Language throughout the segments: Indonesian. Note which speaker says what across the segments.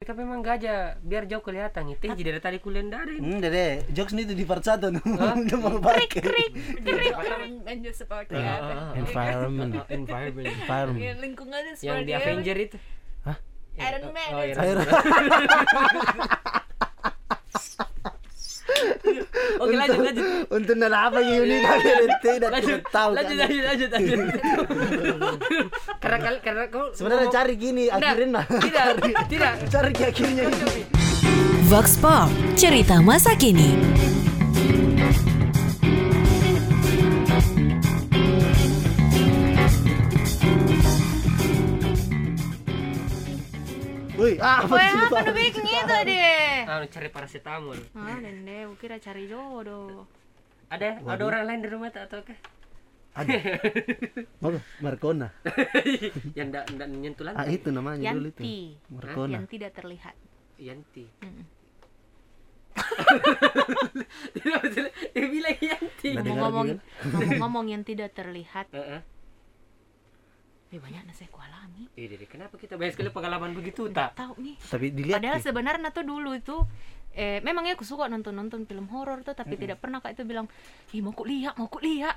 Speaker 1: mereka memang gajah biar jauh kelihatan itu jadi dari tadi kuliah ndak ada ini.
Speaker 2: Hmm, dede, jokes itu di part satu nih.
Speaker 1: Hah?
Speaker 2: Udah mau pakai.
Speaker 3: Environment aja seperti
Speaker 1: Iya, Ah,
Speaker 3: apa.
Speaker 1: ah,
Speaker 4: environment
Speaker 1: environment
Speaker 3: Ya,
Speaker 4: environment
Speaker 3: lingkungannya
Speaker 1: yang
Speaker 3: seperti
Speaker 1: di
Speaker 3: apa.
Speaker 1: Avenger itu Eh,
Speaker 4: Hah?
Speaker 3: Iron Man. Iya.
Speaker 1: oh, Iron
Speaker 2: Air.
Speaker 1: Man. oke lanjut lanjut
Speaker 2: Untuk nara apa ya
Speaker 3: Iya.
Speaker 2: ini kali dede
Speaker 1: lanjut
Speaker 2: tidak tahu.
Speaker 1: lanjut
Speaker 2: kan.
Speaker 1: lanjut lanjut lanjut karena kali karena kau
Speaker 2: Sebenarnya
Speaker 1: ngomong-
Speaker 2: cari gini akhirin lah.
Speaker 1: tidak tidak
Speaker 2: Cari ke akhirnya ini.
Speaker 5: Vox Pop, cerita masa kini.
Speaker 2: Wih, ah, apa
Speaker 3: Wah,
Speaker 2: sih?
Speaker 3: apa nih bikin gitu deh?
Speaker 1: Ah, cari parasetamol
Speaker 3: Ah, Dende, kira cari jodoh.
Speaker 1: ada ada orang lain di rumah tak atau kah
Speaker 2: Ada. Apa? Marcona.
Speaker 1: yang ndak ndak nyentuh
Speaker 2: Ah,
Speaker 1: lantai
Speaker 2: itu namanya dulu itu.
Speaker 3: Yanti.
Speaker 2: Marcona.
Speaker 3: Yang tidak terlihat.
Speaker 1: Iya, Yanti
Speaker 3: Mm-mm.
Speaker 1: Tidak, maksudnya, dia bilang Yanti
Speaker 2: Nah, dengar
Speaker 3: Ngomong-ngomong,
Speaker 2: juga.
Speaker 3: ngomong-ngomong yang tidak terlihat.
Speaker 1: Heeh.
Speaker 3: Lebih banyak nasi ku alami.
Speaker 1: Eh, Dede, kenapa kita banyak sekali pengalaman begitu tak?
Speaker 3: Tahu nih.
Speaker 2: Tapi dilihat.
Speaker 3: Padahal
Speaker 2: Ki.
Speaker 3: sebenarnya tuh dulu itu eh memangnya aku suka nonton-nonton film horor tuh tapi tidak pernah kak itu bilang ih mau ku lihat mau ku lihat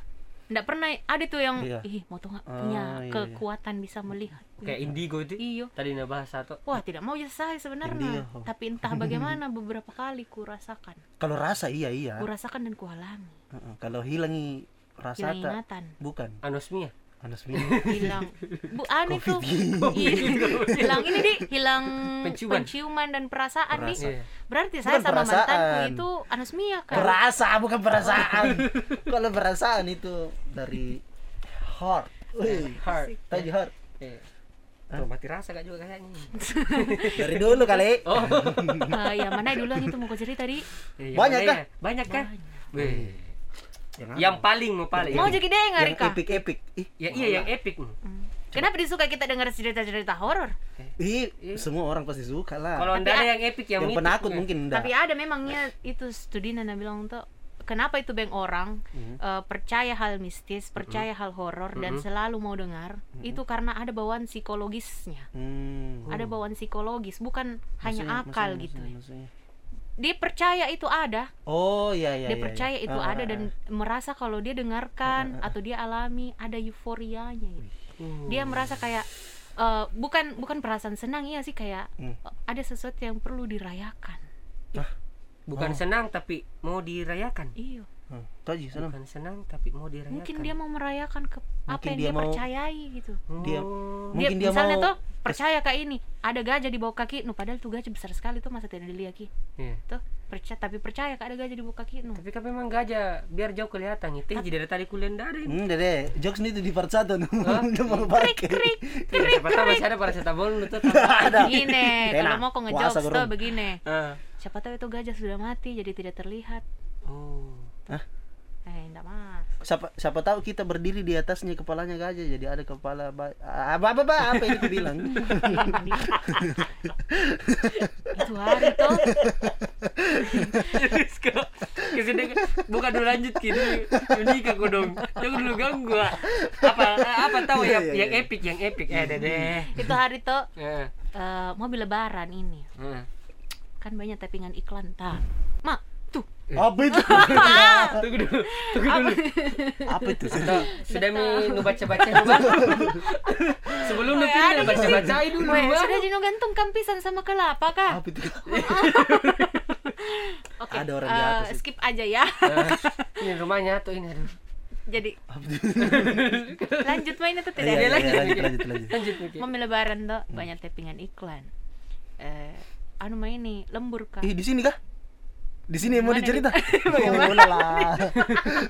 Speaker 3: nggak pernah ada tuh yang
Speaker 2: Iya.
Speaker 3: ih mau tuh nggak
Speaker 2: Ah,
Speaker 3: punya
Speaker 2: iya, iya.
Speaker 3: kekuatan bisa melihat
Speaker 1: Kayak indigo itu.
Speaker 3: iyo
Speaker 1: Tadi nah bahas satu.
Speaker 3: wah tidak mau ya saya sebenarnya
Speaker 2: Indigo.
Speaker 3: tapi entah bagaimana beberapa kali ku rasakan
Speaker 2: Kalau rasa iya iya.
Speaker 3: ku rasakan dan ku alami
Speaker 2: Heeh, Kalau hilangi rasa
Speaker 3: hilang
Speaker 2: tak
Speaker 3: ingatan
Speaker 2: bukan
Speaker 1: Anosmia.
Speaker 2: panas minum.
Speaker 3: hilang bu anu
Speaker 2: Covid
Speaker 3: tuh hilang ini di hilang
Speaker 1: Penciuman.
Speaker 3: penciuman, dan perasaan
Speaker 2: Perasaan.
Speaker 3: nih berarti saya
Speaker 2: Bukan
Speaker 3: sama
Speaker 2: perasaan.
Speaker 3: mantanku itu anosmia kan
Speaker 2: Perasa bukan perasaan. Kalau perasaan itu dari heart. Wih,
Speaker 1: Heart.
Speaker 2: tadi
Speaker 3: Ya.
Speaker 2: heart.
Speaker 1: Eh. Tuh, mati rasa gak juga kayaknya.
Speaker 2: Dari dulu kali.
Speaker 1: Oh.
Speaker 3: Ah, ya mana dulu itu mau kau cerita di
Speaker 1: Eh, yang
Speaker 2: Banyak
Speaker 1: mana
Speaker 2: kah?
Speaker 1: ya? Banyak kah? Weh.
Speaker 2: Yang,
Speaker 1: Yang paling mau paling.
Speaker 3: mau jadi deh nggak
Speaker 2: yang
Speaker 3: Rika
Speaker 2: epic epic. Ih,
Speaker 1: Ya iya yang epic. Hmm.
Speaker 3: Hmm. kenapa disuka kita dengar cerita-cerita horor
Speaker 2: ih,
Speaker 3: Iya.
Speaker 2: semua orang pasti suka lah.
Speaker 1: Kalau anda ada yang epic yang,
Speaker 2: yang
Speaker 1: mitik,
Speaker 2: penakut
Speaker 1: eh.
Speaker 2: mungkin enggak.
Speaker 3: tapi ya- ada memangnya itu studi Nana bilang tuh kenapa itu bank orang
Speaker 2: Hmm.
Speaker 3: eh, percaya hal mistis percaya hal horor dan selalu mau dengar itu karena ada bawaan psikologisnya
Speaker 2: Hmm.
Speaker 3: ada bawaan psikologis bukan hanya
Speaker 2: Maksudnya-
Speaker 3: akal
Speaker 2: maksudnya-
Speaker 3: gitu ya.
Speaker 2: maksudnya- maksudnya.
Speaker 3: dia percaya itu ada
Speaker 2: Oh iya iya.
Speaker 3: dia
Speaker 2: iya,
Speaker 3: percaya
Speaker 2: iya.
Speaker 3: itu
Speaker 2: Ah,
Speaker 3: ada
Speaker 2: ah,
Speaker 3: dan
Speaker 2: ah.
Speaker 3: merasa kalau dia dengarkan atau dia alami ada euforianya gitu.
Speaker 2: Hmm.
Speaker 3: dia merasa kayak eh, bukan bukan perasaan senang iya sih kayak
Speaker 2: Hmm.
Speaker 3: eh, ada sesuatu yang perlu dirayakan
Speaker 1: Bukan senang tapi mau dirayakan.
Speaker 3: iyo
Speaker 2: Hmm. Tadi sana.
Speaker 1: Bukan senang tapi mau dirayakan.
Speaker 3: Iya, mungkin dia mau merayakan ke apa
Speaker 2: Mungkin
Speaker 3: yang
Speaker 2: dia
Speaker 3: dia,
Speaker 2: mau-
Speaker 3: percayai gitu
Speaker 2: Dia
Speaker 1: Oh.
Speaker 2: mungkin dia,
Speaker 3: misalnya
Speaker 2: mau
Speaker 3: tuh percaya kayak ini ada gajah di bawah kaki nu padahal tuh gajah besar sekali tuh masa tidak dilihat Ki?
Speaker 1: Iya.
Speaker 3: tuh percaya tapi percaya kak ada gajah di bawah kaki nu
Speaker 1: Tapi kan memang gajah biar jauh kelihatan. Itu jadi dari tadi kuliah ndak ada ini.
Speaker 2: Hmm, dede, jokes ini tuh di part satu nih. Udah mau pakai.
Speaker 1: Siapa tahu masih ada paracetamol untuk
Speaker 2: Ada.
Speaker 3: begini
Speaker 2: Tena,
Speaker 3: kalau mau kau
Speaker 2: Nah, puasa
Speaker 3: ngejokes tuh
Speaker 2: turun.
Speaker 3: begini
Speaker 1: Ah.
Speaker 3: siapa tahu itu gajah sudah mati jadi tidak terlihat
Speaker 1: Oh.
Speaker 3: eh enggak mas
Speaker 2: siapa siapa tahu kita berdiri di atasnya kepalanya gajah jadi ada kepala ba- apa apa apa apa yang itu bilang
Speaker 3: itu hari tuh
Speaker 1: Terus kok kesini bukan dulu lanjut gitu ini ke dong jangan dulu ganggu ah. apa apa tahu
Speaker 2: Iya,
Speaker 1: yang
Speaker 2: iya,
Speaker 1: yang epic yang epic eh deh
Speaker 3: itu hari tuh eh, mobil lebaran ini
Speaker 1: eh.
Speaker 3: kan banyak tappingan iklan tak mak tuh
Speaker 2: apa itu
Speaker 1: tunggu dulu tunggu dulu
Speaker 2: apa itu sih?
Speaker 1: Tuh, sudah mi nu baca baca sebelum nu pindah baca bacain dulu
Speaker 3: Weh,
Speaker 1: Bang.
Speaker 3: sudah jenuh gantung kampisan sama kelapa kah
Speaker 2: apa itu
Speaker 3: oke
Speaker 2: Ada orang di
Speaker 3: eh,
Speaker 2: atas itu.
Speaker 3: skip aja ya
Speaker 1: Eh, ini rumahnya tuh ini aduh
Speaker 3: jadi lanjut main itu tidak
Speaker 2: Iya, iya,
Speaker 3: ada lagi
Speaker 2: iya, Hmm. lanjut lanjut lanjut
Speaker 1: lanjut Miki.
Speaker 3: mobil lebaran tuh banyak tappingan iklan eh anu main nih lembur kah
Speaker 2: eh di sini kah di sini yang mau
Speaker 3: Gimana
Speaker 2: dicerita
Speaker 3: Bagaimana?
Speaker 2: oh lah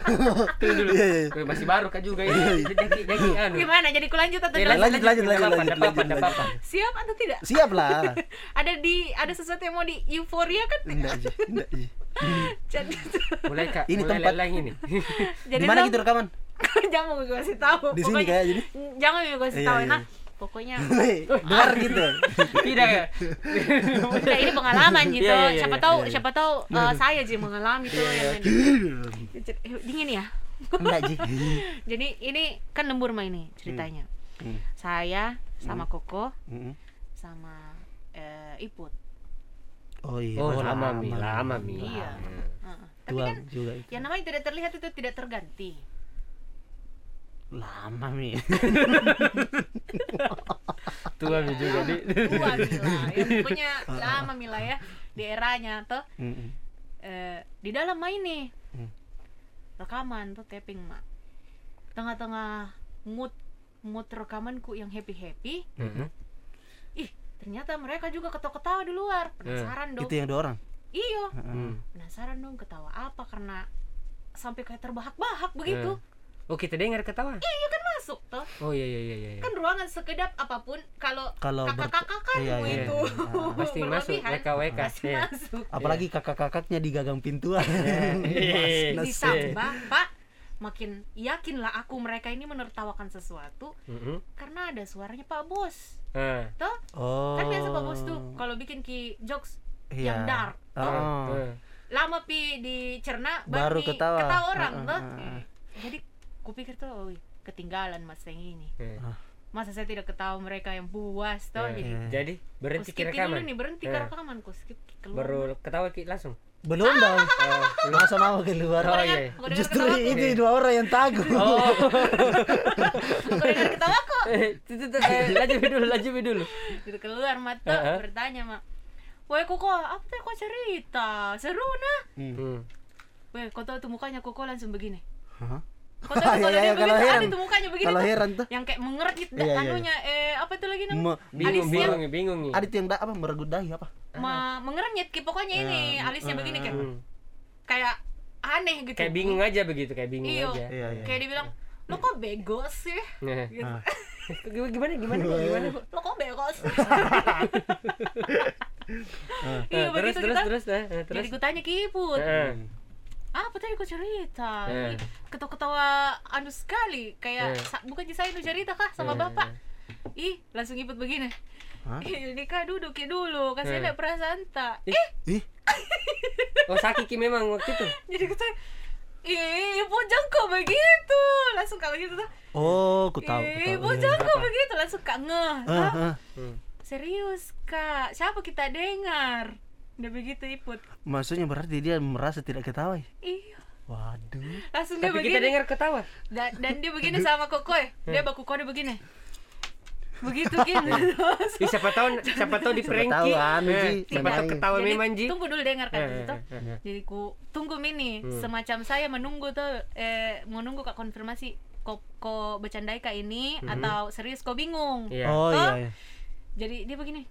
Speaker 1: tunggu dulu
Speaker 2: Iya, iya.
Speaker 1: Weh, masih baru kan juga ini jadi jadi anu
Speaker 3: gimana jadi ku lanjut atau
Speaker 1: Eh,
Speaker 3: tidak?
Speaker 2: Iya, lanjut lanjut lanjut
Speaker 1: Nggak apa-apa, nggak
Speaker 2: lanjut
Speaker 1: apa-apa,
Speaker 2: lanjut
Speaker 1: nggak
Speaker 2: lanjut.
Speaker 1: apa-apa.
Speaker 3: siap atau tidak
Speaker 2: siap lah
Speaker 3: ada di ada sesuatu yang mau di euforia kan
Speaker 2: enggak aja enggak aja
Speaker 3: jadi
Speaker 1: mulai kak
Speaker 2: Ini
Speaker 1: mulai
Speaker 2: tempat-
Speaker 1: leleng ini
Speaker 3: jadi
Speaker 2: di mana
Speaker 3: lo-
Speaker 2: gitu rekaman
Speaker 3: jangan mau gue kasih tahu
Speaker 2: Di sini
Speaker 3: Pokoknya-
Speaker 2: kayak jadi?
Speaker 3: jangan mau gue kasih
Speaker 2: Iya,
Speaker 3: tahu
Speaker 2: iya.
Speaker 3: nah pokoknya
Speaker 2: Weh, dengar gitu
Speaker 1: tidak ya
Speaker 3: udah ini pengalaman gitu
Speaker 1: Iya, iya, iya,
Speaker 3: siapa tahu siapa tahu eh, saya aja yang mengalami
Speaker 2: Iya,
Speaker 3: tuh yang main Eh, dingin ya
Speaker 2: enggak ji
Speaker 3: jadi ini kan lembur mah ini ceritanya
Speaker 2: Hmm.
Speaker 3: saya sama koko
Speaker 2: Mm-mm.
Speaker 3: sama eh, iput
Speaker 2: Oh iya,
Speaker 1: Oh, lama mi,
Speaker 2: lama.
Speaker 1: lama mi.
Speaker 3: Iya.
Speaker 1: Nah.
Speaker 3: Heeh. Tapi
Speaker 2: Tua
Speaker 3: kan
Speaker 2: juga itu.
Speaker 3: yang namanya tidak terlihat itu tidak terganti.
Speaker 2: Lama mi.
Speaker 1: Ah, Tua mi juga di.
Speaker 3: Tua Mila, ya, pokoknya lama Mila ya di eranya tuh
Speaker 2: Mm-mm.
Speaker 3: eh, di dalam main nih
Speaker 2: Hmm.
Speaker 3: rekaman tuh taping mak tengah-tengah mood mood rekamanku yang happy happy
Speaker 1: Mhm.
Speaker 3: ih ternyata mereka juga ketawa-ketawa di luar penasaran
Speaker 2: Eh,
Speaker 3: dong
Speaker 2: Itu yang dua orang.
Speaker 3: iyo
Speaker 1: Hmm.
Speaker 3: penasaran dong ketawa apa karena sampai kayak terbahak-bahak
Speaker 2: Eh.
Speaker 3: begitu
Speaker 1: Oh kita dengar ketawa.
Speaker 3: iya kan masuk tuh
Speaker 1: Oh iya iya iya iya. iya.
Speaker 3: kan ruangan sekedap apapun kalau
Speaker 2: Kalau ber-
Speaker 3: kakak-kakak kan
Speaker 2: Iya, iya,
Speaker 3: itu
Speaker 2: iya.
Speaker 1: Pasti masuk
Speaker 3: berlebihan,
Speaker 1: WKWK.
Speaker 3: pasti
Speaker 1: Iya.
Speaker 3: masuk
Speaker 2: Apalagi kakak-kakaknya di gagang pintuan.
Speaker 1: Iya.
Speaker 2: Mas, nas-
Speaker 3: ditambah pak makin yakinlah aku mereka ini menertawakan sesuatu
Speaker 1: Mhm.
Speaker 3: karena ada suaranya pak bos
Speaker 1: Ah,
Speaker 3: toh
Speaker 2: Oh.
Speaker 3: kan biasa pak bos tuh kalau bikin ki jokes
Speaker 2: Iya.
Speaker 3: yang dark
Speaker 1: ah,
Speaker 2: Oh.
Speaker 1: ah.
Speaker 3: lama pi dicerna
Speaker 2: Baru
Speaker 3: baru, di-
Speaker 2: ketawa.
Speaker 3: orang
Speaker 2: Ah, ah,
Speaker 3: toh
Speaker 2: ah, ah.
Speaker 3: jadi kupikir tuh "Oh, ketinggalan mas yang ini
Speaker 1: Eh,
Speaker 3: masa saya tidak ketawa mereka yang puas toh
Speaker 1: eh.
Speaker 3: jadi
Speaker 1: Jadi
Speaker 3: aku
Speaker 1: berhenti
Speaker 3: skip
Speaker 1: kira
Speaker 3: ki dulu
Speaker 1: rekaman.
Speaker 3: nih berhenti ke
Speaker 1: Eh.
Speaker 3: rekaman ku skip ki keluar
Speaker 1: Baru ketawa ki langsung.
Speaker 2: Belum dong. Masa mau keluar?
Speaker 1: Oh, iya.
Speaker 3: Aku dengar
Speaker 2: Justru
Speaker 3: ketawa ku.
Speaker 2: ini dua orang yang takut.
Speaker 3: Oh. aku
Speaker 2: iya.
Speaker 3: dengar ketawa ku.
Speaker 1: Eh, tut, tut, tut, eh, lanjut dulu, lanjut dulu.
Speaker 3: gitu keluar mata
Speaker 2: Eh,
Speaker 1: Heeh.
Speaker 3: bertanya mak Woi koko, apa teh kok cerita? Seru nah.
Speaker 1: Hmm.
Speaker 3: Woi, kau tahu tuh mukanya koko langsung begini.
Speaker 2: Hah?
Speaker 3: Kau tahu tuh
Speaker 2: Iya, iya,
Speaker 3: kalau dia
Speaker 2: kalau
Speaker 3: begini tuh ada
Speaker 2: heran.
Speaker 3: tuh mukanya begini.
Speaker 2: Kalau
Speaker 3: tuh.
Speaker 2: heran tuh.
Speaker 3: Yang kayak mengerti
Speaker 2: Iya, iya,
Speaker 3: anunya eh apa tuh lagi namanya?
Speaker 2: Me-
Speaker 1: Bingung,
Speaker 3: alisnya
Speaker 1: bingung, bingung nih.
Speaker 2: Ada itu yang da- apa meregut dahi apa?
Speaker 3: ma mengernyit kayak pokoknya ini
Speaker 2: Iya.
Speaker 3: alisnya begini kayak
Speaker 1: Hmm.
Speaker 3: kayak aneh gitu.
Speaker 1: Kayak bingung aja begitu, kayak bingung
Speaker 3: Iya.
Speaker 1: aja.
Speaker 2: Iya, iya.
Speaker 3: Kayak dibilang, "Lo kok bego sih?"
Speaker 1: Nah.
Speaker 3: Gitu.
Speaker 2: Ah.
Speaker 1: Gimana gimana gimana Bu?
Speaker 2: Iya.
Speaker 1: gimana Bu?
Speaker 3: Lo kok bego sih?
Speaker 1: Eh,
Speaker 2: Nah,
Speaker 3: Iya,
Speaker 1: terus
Speaker 3: begitu
Speaker 1: terus
Speaker 3: kita.
Speaker 1: terus eh, eh, terus. Eh,
Speaker 3: Jadi gue tanya kiput.
Speaker 2: Iya.
Speaker 1: Heeh.
Speaker 3: apa tadi kau cerita
Speaker 1: Eh.
Speaker 3: ketawa-ketawa anu sekali kayak
Speaker 1: Eh.
Speaker 2: Iya.
Speaker 3: sa- bukan saya itu cerita kah
Speaker 1: Eh.
Speaker 3: sama bapak ih langsung ikut begini
Speaker 2: Hah?
Speaker 3: Ih, ini kah duduk ya dulu kasih
Speaker 1: Eh.
Speaker 3: lihat perasaan tak
Speaker 1: Ih.
Speaker 3: eh
Speaker 2: Ih,
Speaker 1: Oh sakit ki memang waktu itu.
Speaker 3: jadi kata ih bojang kok begitu langsung kalau gitu tuh
Speaker 2: oh, ku tahu. ku
Speaker 3: ih
Speaker 2: tahu.
Speaker 3: bojang
Speaker 1: Iya,
Speaker 3: kok
Speaker 1: apa? Eh.
Speaker 3: begitu langsung kak ngeh
Speaker 2: Ah,
Speaker 3: Hah?
Speaker 2: ah.
Speaker 1: Hmm.
Speaker 3: serius kak siapa kita dengar udah begitu ikut
Speaker 2: Maksudnya berarti dia merasa tidak ketawa. ya?
Speaker 3: iya
Speaker 2: Waduh.
Speaker 3: langsung dia
Speaker 1: Tapi
Speaker 3: begini
Speaker 1: kita dengar Eh. ketawa.
Speaker 3: dan, dan dia begini sama kokoy dia baku kode begini begitu gitu
Speaker 1: Iya. Ih, siapa tahu siapa tahu di prank
Speaker 2: tahu
Speaker 1: Ki.
Speaker 2: anu,
Speaker 1: Eh,
Speaker 2: Ji.
Speaker 1: Siapa tahu
Speaker 2: Memang.
Speaker 1: ketawa memang Ji.
Speaker 3: tunggu dulu dengarkan
Speaker 1: Eh,
Speaker 3: gitu
Speaker 1: eh, eh, eh.
Speaker 3: jadi ku tunggu mini semacam saya menunggu tuh eh menunggu kak konfirmasi kok ko bercandai kak ini atau serius kok bingung
Speaker 1: Iya.
Speaker 2: Oh
Speaker 3: Toh?
Speaker 2: iya. iya.
Speaker 3: jadi dia begini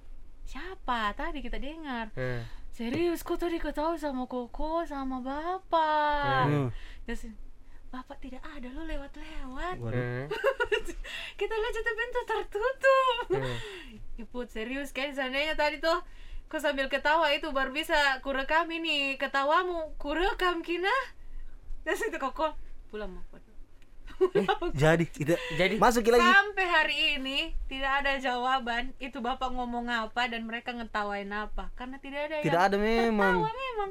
Speaker 3: siapa tadi kita dengar
Speaker 1: Eh,
Speaker 3: serius kok tadi ketahui sama koko sama bapak
Speaker 2: Hmm.
Speaker 3: terus bapak tidak ada lo lewat-lewat
Speaker 2: Waduh.
Speaker 1: eh.
Speaker 3: kita lihat jatuh pintu tertutup
Speaker 1: Hmm.
Speaker 3: Ibu serius kan seandainya tadi tuh kau sambil ketawa itu baru bisa kurekam ini ketawamu kurekam kina dan itu kok pulang mau
Speaker 2: Jadi tidak
Speaker 1: Jadi
Speaker 2: masuk lagi.
Speaker 3: sampai hari ini tidak ada jawaban itu bapak ngomong apa dan mereka ngetawain apa karena
Speaker 1: ya
Speaker 3: tidak ada
Speaker 2: Tidak
Speaker 1: kan?
Speaker 3: yang
Speaker 2: ada memang.
Speaker 3: ketawa memang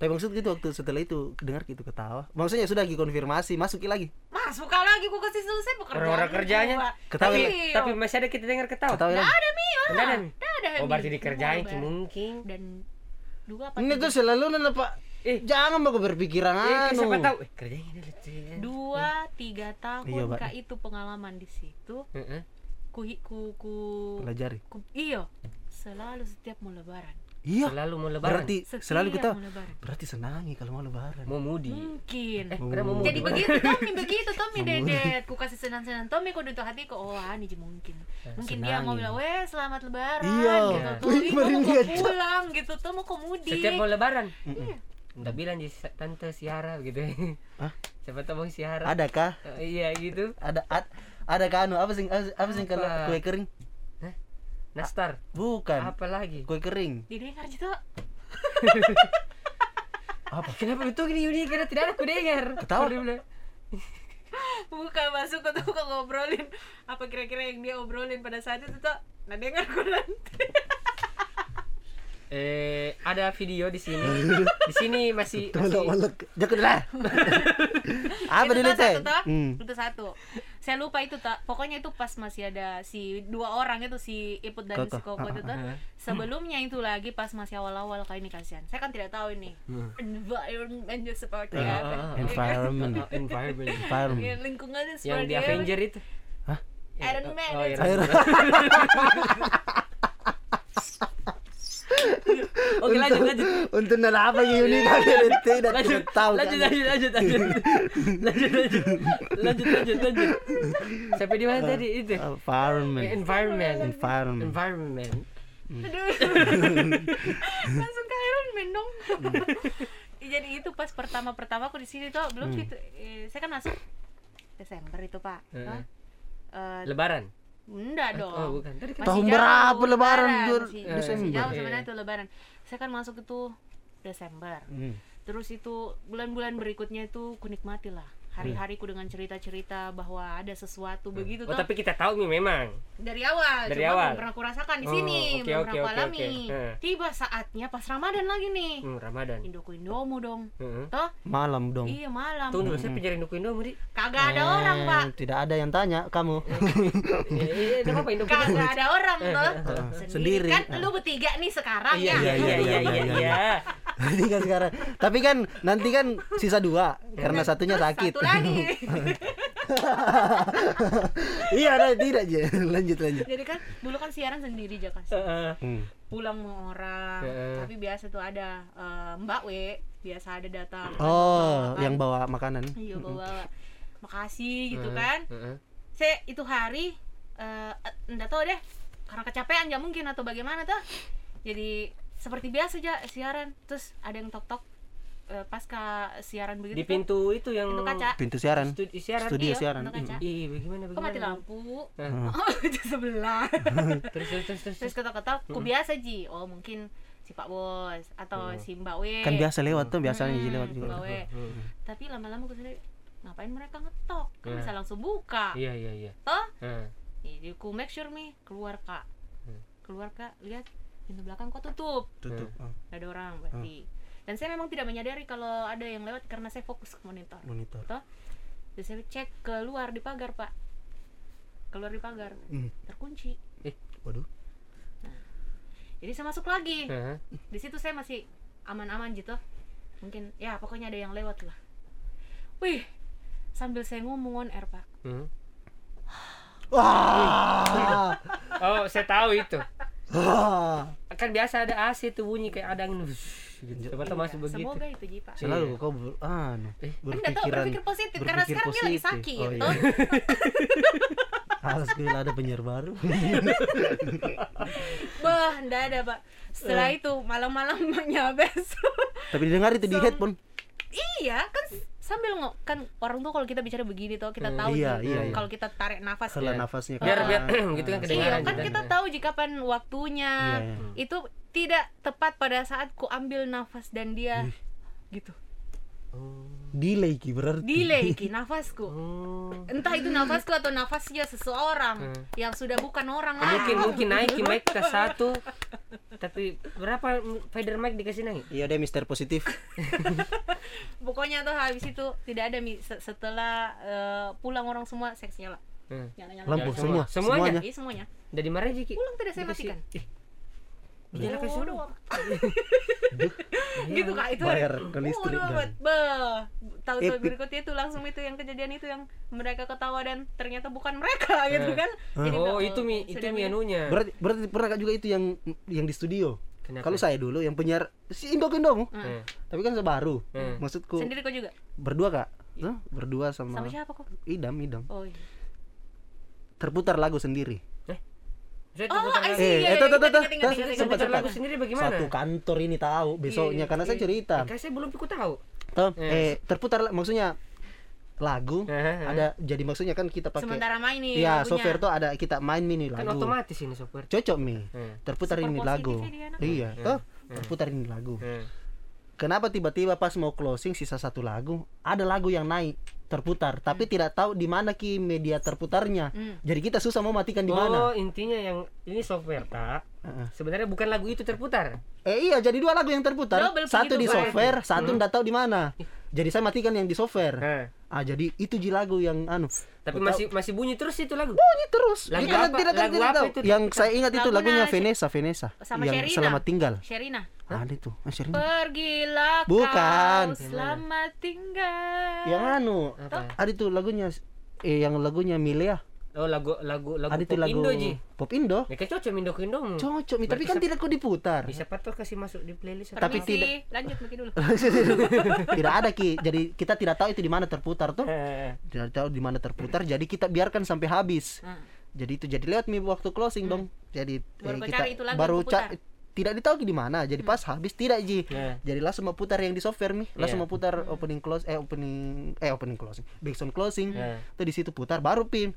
Speaker 2: Tapi maksud gitu waktu setelah itu dengar gitu ketawa. Maksudnya sudah dikonfirmasi, masuk lagi.
Speaker 3: masuk kalau lagi ku kasih selesai pekerjaan
Speaker 1: orang-orang kerjanya.
Speaker 3: kedua.
Speaker 2: Ketawa.
Speaker 1: Tapi
Speaker 3: Iya.
Speaker 1: tapi masih ada kita dengar ketawa.
Speaker 2: Ketawa
Speaker 3: Nggak
Speaker 2: lagi.
Speaker 3: ada mio
Speaker 1: Nggak ada, Mi?
Speaker 3: Nggak ada
Speaker 1: Oh
Speaker 3: Mi.
Speaker 1: berarti dikerjain
Speaker 3: Nggak
Speaker 1: Ki
Speaker 3: ada.
Speaker 1: mungkin.
Speaker 3: dan dua apa
Speaker 2: Ini
Speaker 3: tiga?
Speaker 2: tuh selalu nana pak.
Speaker 1: Eh.
Speaker 2: Jangan mau berpikiran
Speaker 1: Eh, Ki,
Speaker 2: anu.
Speaker 1: siapa tahu eh, kerjain ini lucu. ya.
Speaker 3: dua tiga tahun
Speaker 2: Iya, Pak.
Speaker 3: kak itu pengalaman di situ
Speaker 1: Heeh.
Speaker 3: ku ku ku,
Speaker 2: Pelajari.
Speaker 3: ku iyo selalu setiap mau lebaran
Speaker 2: Iya.
Speaker 1: Selalu mau lebaran.
Speaker 2: Berarti
Speaker 3: Setiap
Speaker 2: selalu ketawa.
Speaker 3: mau lebaran
Speaker 2: Berarti senangi kalau mau lebaran.
Speaker 1: mau mudi.
Speaker 3: mungkin
Speaker 1: Eh, karena
Speaker 2: Oh.
Speaker 1: mau mudi.
Speaker 3: Hmm. jadi begitu Tommy begitu Tommy dedet ku kasih senang-senang Tommy ku untuk hatiku oh ani je mungkin mungkin dia mau
Speaker 2: senangin.
Speaker 3: bilang weh selamat lebaran
Speaker 2: Eh, Iya.
Speaker 3: gitu tuh
Speaker 2: Wih,
Speaker 3: "Ih, kok
Speaker 2: merinding
Speaker 3: mau
Speaker 2: aja.
Speaker 3: pulang gitu tuh mau kemudi
Speaker 1: Setiap mau lebaran.
Speaker 3: Iya.
Speaker 1: Udah bilang di sa- tante siara gitu.
Speaker 2: Hah?
Speaker 1: Siapa tahu mau siara.
Speaker 2: Adakah?
Speaker 1: Eh, iya gitu.
Speaker 2: Ada ad, ada kanu apa sih apa sih kalau
Speaker 1: Apa?
Speaker 2: kue kering?
Speaker 1: Nastar.
Speaker 2: Bukan.
Speaker 1: Apa lagi?
Speaker 2: Kue kering.
Speaker 3: didengar gitu
Speaker 1: Apa? Kenapa itu gini Yuni? Karena tidak ada aku dengar.
Speaker 2: Ketawa.
Speaker 1: Dia bilang,
Speaker 3: buka masuk ke toko ngobrolin apa kira-kira yang dia obrolin pada saat itu tuh nah dengar ku nanti
Speaker 1: Eh, ada video di sini. di sini masih, masih
Speaker 2: Tolong, tolong. Jangan lah. Apa
Speaker 3: itu
Speaker 2: dulu
Speaker 3: tuh
Speaker 2: teh?
Speaker 3: satu tuh
Speaker 2: Hmm.
Speaker 3: itu satu saya lupa itu tak pokoknya itu pas masih ada si dua orang itu si Iput dan
Speaker 2: Kokoh.
Speaker 3: si Koko itu tuh.
Speaker 1: Heeh.
Speaker 3: sebelumnya itu lagi pas masih awal-awal kali ini kasihan saya kan tidak tahu ini
Speaker 1: Hmm.
Speaker 3: environmentnya seperti
Speaker 1: Ah, ah,
Speaker 3: apa
Speaker 1: ah.
Speaker 3: Ya kan?
Speaker 2: environment
Speaker 1: Oh, environment
Speaker 3: Ya,
Speaker 2: environment
Speaker 3: lingkungannya
Speaker 1: yang
Speaker 3: seperti
Speaker 1: di Avenger itu
Speaker 2: Hah?
Speaker 3: Iron Man.
Speaker 1: oh, Iron
Speaker 2: Air.
Speaker 1: Man. oke lanjut lanjut
Speaker 2: Untuk nara apa Yuni kalian tidak
Speaker 1: lanjut
Speaker 2: tahu
Speaker 1: lanjut
Speaker 2: kan?
Speaker 1: lanjut lanjut lanjut lanjut lanjut lanjut lanjut lanjut sampai di mana tadi itu
Speaker 2: Environment.
Speaker 1: environment
Speaker 2: Environment.
Speaker 1: environment
Speaker 3: Aduh. Langsung ke Iron Man dong.
Speaker 1: Hmm.
Speaker 3: Ya, Jadi itu pas pertama-pertama aku di sini tuh belum
Speaker 1: Hmm.
Speaker 3: situ, eh, saya kan masuk Desember itu, Pak.
Speaker 1: Heeh.
Speaker 3: Hah? Eh,
Speaker 1: lebaran
Speaker 3: enggak dong.
Speaker 1: oh bukan tadi kan
Speaker 3: Masih
Speaker 2: Tahun
Speaker 3: jauh,
Speaker 2: berapa lebaran? Dua-
Speaker 3: Masih,
Speaker 1: Eh,
Speaker 3: masih
Speaker 2: Desember.
Speaker 3: jauh
Speaker 1: Iya.
Speaker 3: sebenarnya itu lebaran. Saya kan masuk itu Desember.
Speaker 2: Hmm.
Speaker 3: Terus itu bulan-bulan berikutnya itu kunikmati lah hari-hariku dengan cerita-cerita bahwa ada sesuatu begitu
Speaker 1: oh
Speaker 3: tuh
Speaker 1: tapi kita tahu nih memang
Speaker 3: dari awal
Speaker 1: Dari
Speaker 3: cuma
Speaker 1: awal.
Speaker 3: belum pernah kurasakan di
Speaker 1: Oh,
Speaker 3: sini
Speaker 1: oke,
Speaker 3: belum
Speaker 1: oke,
Speaker 3: pernah
Speaker 1: oke,
Speaker 3: kualami
Speaker 1: oke. Heeh.
Speaker 3: tiba saatnya pas ramadan lagi nih
Speaker 1: hmm, Ramadan Hmm.
Speaker 3: Indoku Indomu dong
Speaker 2: Hmm.
Speaker 1: Heeh.
Speaker 3: toh
Speaker 2: Malam dong.
Speaker 3: iya malam
Speaker 1: Tunggu dulu, saya penjara Indo Indomu Ri.
Speaker 3: kagak ada orang pak
Speaker 2: Hmm, Tidak ada yang tanya kamu.
Speaker 1: Eh, eh, eh, apa Indo
Speaker 3: kagak ada orang
Speaker 1: Eh,
Speaker 3: toh
Speaker 2: Sendiri.
Speaker 3: kan lu bertiga nih sekarang
Speaker 1: Iya
Speaker 3: ya
Speaker 1: iya iya iya iya. iya.
Speaker 2: Jadi kan sekarang. Tapi kan nanti kan sisa dua karena satunya sakit.
Speaker 3: satu lagi
Speaker 2: iya, ada tidak je. Lanjut lanjut.
Speaker 3: jadi kan dulu kan siaran sendiri aja kan
Speaker 1: Heeh.
Speaker 2: Hmm.
Speaker 3: pulang sama orang
Speaker 1: Heeh.
Speaker 3: tapi biasa tuh ada eh, mbak we biasa ada datang
Speaker 2: Oh,
Speaker 3: Bawa-
Speaker 2: yang bawa makanan.
Speaker 3: iya bawa makasih gitu
Speaker 1: Heeh,
Speaker 3: kan
Speaker 1: heeh.
Speaker 3: saya itu hari eh enggak tahu deh karena kecapean ya mungkin atau bagaimana tuh jadi seperti biasa aja siaran terus ada yang tok tok eh, pasca siaran
Speaker 1: Di
Speaker 3: begitu tuh,
Speaker 1: pintu itu yang
Speaker 3: pintu kaca
Speaker 2: Pintu siaran.
Speaker 1: Studi siaran.
Speaker 2: Studi-
Speaker 3: Iya,
Speaker 2: siaran. Hmm.
Speaker 3: pintu kaca
Speaker 1: Ih, bagaimana bagaimana?
Speaker 3: kok mati lampu
Speaker 1: Nah,
Speaker 3: oh itu sebelah
Speaker 1: terus terus terus terus.
Speaker 3: terus ketok ketok ku biasa ji oh mungkin si pak bos atau si mbak we
Speaker 2: Kan biasa lewat tuh, biasanya
Speaker 3: Iya. Hmm,
Speaker 2: jadi lewat
Speaker 3: si
Speaker 2: juga.
Speaker 3: mbak we.
Speaker 1: Hmm.
Speaker 3: tapi lama-lama gue sendiri ngapain mereka ngetok kan
Speaker 1: Nah.
Speaker 3: bisa langsung buka
Speaker 1: Iya iya iya.
Speaker 3: toh
Speaker 1: Nah,
Speaker 3: jadi ku make sure nih keluar kak
Speaker 1: Hmm.
Speaker 3: keluar kak lihat pintu belakang kok tutup
Speaker 2: Tutup. ah,
Speaker 3: nggak ada orang berarti dan saya memang tidak menyadari kalau ada yang lewat karena saya fokus ke monitor
Speaker 2: Monitor.
Speaker 3: toh jadi saya cek keluar di pagar pak keluar di pagar
Speaker 2: Hmm.
Speaker 3: terkunci
Speaker 1: Eh,
Speaker 2: Waduh.
Speaker 3: jadi saya masuk lagi
Speaker 1: nah.
Speaker 3: di situ saya masih aman-aman gitu mungkin ya pokoknya ada yang lewat lah wih sambil saya ngomong on air pak
Speaker 1: Hmm.
Speaker 2: Wah.
Speaker 1: Oh, saya tahu itu.
Speaker 2: Wah.
Speaker 1: Kan biasa ada AC tuh bunyi kayak ada angin. wush, Gitu. Coba
Speaker 3: Iya,
Speaker 1: masuk begitu.
Speaker 3: semoga itu Ji pak
Speaker 2: Selalu kau ber, anu,
Speaker 1: Eh.
Speaker 3: Enggak tahu
Speaker 2: berpikiran
Speaker 3: berpikir positif karena
Speaker 2: berpikir
Speaker 3: sekarang dia lagi
Speaker 2: positif.
Speaker 3: sakit.
Speaker 2: Oh, iya.
Speaker 3: toh.
Speaker 2: Alhamdulillah ada penyiar baru.
Speaker 3: Bah, enggak ada, Pak. Setelah
Speaker 2: Eh.
Speaker 3: itu malam-malam nyabes.
Speaker 2: Tapi didengar itu di headphone.
Speaker 3: iya, kan s- sambil ngo kan orang tuh kalau kita bicara begini tuh kita tahu
Speaker 2: Iya,
Speaker 3: Ji,
Speaker 2: iya, iya.
Speaker 3: kalau kita tarik nafas.
Speaker 2: Hela
Speaker 3: Iya.
Speaker 2: nafasnya
Speaker 1: Biar
Speaker 2: kan.
Speaker 1: biar gitu kan
Speaker 3: Iya,
Speaker 1: kedengaran
Speaker 3: kan
Speaker 1: juga.
Speaker 3: kita tahu jika kapan waktunya.
Speaker 2: Iya,
Speaker 3: Itu tidak tepat pada saat ku ambil nafas dan dia gitu.
Speaker 2: Delay ki berarti.
Speaker 3: Delay ki nafasku.
Speaker 1: Oh.
Speaker 3: Entah itu nafasku atau nafasnya seseorang
Speaker 1: Hmm.
Speaker 3: yang sudah bukan orang lagi.
Speaker 1: Mungkin mungkin naik mic ke satu. Tapi berapa feather mic dikasih naik?
Speaker 2: Iya deh Mister Positif.
Speaker 3: Pokoknya tuh habis itu tidak ada Mi. Se- setelah eh, pulang orang semua seksnya lah.
Speaker 1: Hmm.
Speaker 3: Nyala-nyala.
Speaker 2: Lampu semua.
Speaker 1: Semua. Semuanya.
Speaker 3: Iya Ya, semuanya.
Speaker 1: Dari mana Jiki?
Speaker 3: Pulang tidak saya
Speaker 1: Dikasih-
Speaker 3: matikan.
Speaker 1: Ih. Dinyalakan
Speaker 3: Bodoh
Speaker 1: suruh.
Speaker 3: amat. gitu kak itu.
Speaker 2: Bayar ke listrik
Speaker 3: Bodoh
Speaker 2: dan-
Speaker 3: amat. Beuh. Tahu-tahu
Speaker 2: Epic.
Speaker 3: berikutnya itu langsung itu yang kejadian itu yang mereka ketawa dan ternyata bukan mereka
Speaker 2: Eh.
Speaker 3: gitu kan. Jadi
Speaker 1: Oh,
Speaker 3: bilang,
Speaker 1: itu mi itu
Speaker 3: sudah
Speaker 1: mi
Speaker 3: minum.
Speaker 1: anunya.
Speaker 2: Berarti berarti pernah Kak, juga itu yang yang di studio.
Speaker 1: Kenapa?
Speaker 2: Kalau saya dulu yang penyiar si Indo Indomu.
Speaker 1: Hmm.
Speaker 2: Tapi kan saya baru.
Speaker 1: Hmm.
Speaker 2: Maksudku
Speaker 3: Sendiri kok juga.
Speaker 2: berdua Kak. Tuh, berdua sama,
Speaker 3: Sama siapa kok?
Speaker 2: Idam Idam.
Speaker 3: Oh iya.
Speaker 2: Terputar lagu sendiri.
Speaker 1: Saya terputar
Speaker 3: Oh, I
Speaker 1: lagu-
Speaker 3: see. Iya, iya,
Speaker 2: eh, tuh, tuh, tuh,
Speaker 3: iya,
Speaker 2: tuh,
Speaker 3: ingat, ingat,
Speaker 2: tuh,
Speaker 3: ingat,
Speaker 1: Saya
Speaker 2: sempat,
Speaker 3: ingat, ingat,
Speaker 1: lagu
Speaker 3: ingat. Iya,
Speaker 1: sendiri bagaimana?
Speaker 2: Satu kantor ini tahu besoknya karena saya cerita.
Speaker 1: Kan saya belum ikut tahu.
Speaker 2: Tuh,
Speaker 1: Eh.
Speaker 2: eh terputar la- maksudnya lagu
Speaker 1: Eh, eh.
Speaker 2: ada jadi maksudnya kan kita pakai
Speaker 3: Sementara main nih.
Speaker 2: Iya,
Speaker 3: lagunya.
Speaker 2: software tuh ada kita main mini
Speaker 1: Kan
Speaker 2: lagu.
Speaker 1: otomatis ini software.
Speaker 2: Cocok mi.
Speaker 1: Eh.
Speaker 2: Terputar
Speaker 3: Super
Speaker 2: ini
Speaker 3: positif
Speaker 2: lagu.
Speaker 3: ya dia anak.
Speaker 2: Iya,
Speaker 1: Hmm.
Speaker 2: toh terputar ini lagu.
Speaker 1: Eh.
Speaker 2: Kenapa tiba-tiba pas mau closing sisa satu lagu, ada lagu yang naik terputar, tapi tidak tahu di mana ki media terputarnya.
Speaker 3: Hmm.
Speaker 2: Jadi kita susah mau matikan di
Speaker 1: Oh,
Speaker 2: mana.
Speaker 1: intinya yang ini software tak.
Speaker 2: Heeh.
Speaker 1: Sebenarnya bukan lagu itu terputar.
Speaker 2: Eh iya, jadi dua lagu yang terputar,
Speaker 3: Double
Speaker 2: satu
Speaker 3: begitu,
Speaker 2: di
Speaker 3: Pak.
Speaker 1: Hmm.
Speaker 2: software, satu ndak tahu di mana. Jadi saya matikan yang di software.
Speaker 1: Heeh.
Speaker 2: ah jadi itu ji lagu yang anu
Speaker 1: Nah, Tapi
Speaker 2: Gua
Speaker 1: masih masih bunyi terus itu lagu.
Speaker 2: bunyi terus
Speaker 1: Lagu
Speaker 2: Dia kan
Speaker 1: apa?
Speaker 2: tidak,
Speaker 1: Lagu
Speaker 2: tidak
Speaker 1: apa
Speaker 2: tahu.
Speaker 1: itu?
Speaker 2: yang saya ingat itu
Speaker 3: Lagu
Speaker 2: lagunya
Speaker 3: Nas-
Speaker 2: Vanessa Vanessa
Speaker 3: sama
Speaker 2: yang
Speaker 3: Sherina.
Speaker 2: selamat tinggal
Speaker 3: Sherina
Speaker 2: ada itu ah, Sherina.
Speaker 3: pergilah
Speaker 2: Bukan.
Speaker 3: kau selamat tinggal
Speaker 2: yang anu
Speaker 1: Apa?
Speaker 2: ada itu lagunya eh yang lagunya Milia
Speaker 1: Oh lagu lagu lagu
Speaker 2: ada itu
Speaker 1: pop
Speaker 2: lagu
Speaker 1: Indo ji.
Speaker 2: pop Indo
Speaker 1: Mereka cocok Indo ke Indomu.
Speaker 2: cocok Mi, tapi
Speaker 1: Berarti
Speaker 2: kan
Speaker 1: sep-
Speaker 2: tidak kau diputar
Speaker 1: Bisa patut kasih masuk di playlist. Nah,
Speaker 3: Permisi,
Speaker 1: atau
Speaker 2: Tapi
Speaker 1: apa?
Speaker 2: tidak-
Speaker 3: lanjut mungkin dulu
Speaker 2: tidak ada ki jadi kita tidak tahu itu di mana terputar tuh
Speaker 1: Eh,
Speaker 2: tidak tahu di mana terputar jadi kita biarkan sampai habis
Speaker 3: Hmm.
Speaker 2: jadi itu jadi lewat mi waktu closing
Speaker 1: Hmm.
Speaker 2: dong jadi eh,
Speaker 3: Baru kau cari itu lagu yang
Speaker 2: baru
Speaker 3: kau
Speaker 2: ca- tidak ditahu di mana jadi
Speaker 1: Hmm.
Speaker 2: pas habis tidak ji
Speaker 1: Nah.
Speaker 2: jadi langsung mau putar yang di software mi langsung
Speaker 1: Iya.
Speaker 2: mau putar opening close eh opening eh opening closing backsound closing
Speaker 1: Iya.
Speaker 2: tuh di situ putar baru pin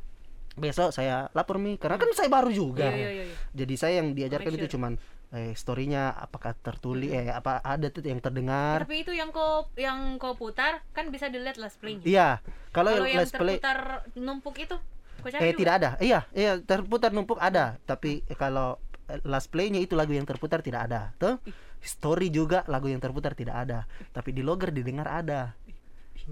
Speaker 2: besok saya lapor mi karena kan saya baru juga
Speaker 3: Iya, iya, iya, iya.
Speaker 2: jadi saya yang diajarkan
Speaker 3: Make Iya.
Speaker 2: itu cuman eh storynya apakah tertulis eh apa ada tuh yang terdengar
Speaker 3: tapi itu yang kau yang kau putar kan bisa dilihat last playnya
Speaker 2: iya kalau
Speaker 3: kalau
Speaker 2: yang
Speaker 3: yang
Speaker 2: let's play
Speaker 3: terputar numpuk itu kau cari
Speaker 2: Eh
Speaker 3: juga?
Speaker 2: tidak ada. Iya, iya terputar numpuk ada, tapi kalau eh, last playnya itu lagu yang terputar tidak ada. Tuh. Story juga lagu yang terputar tidak ada, tapi di logger didengar ada.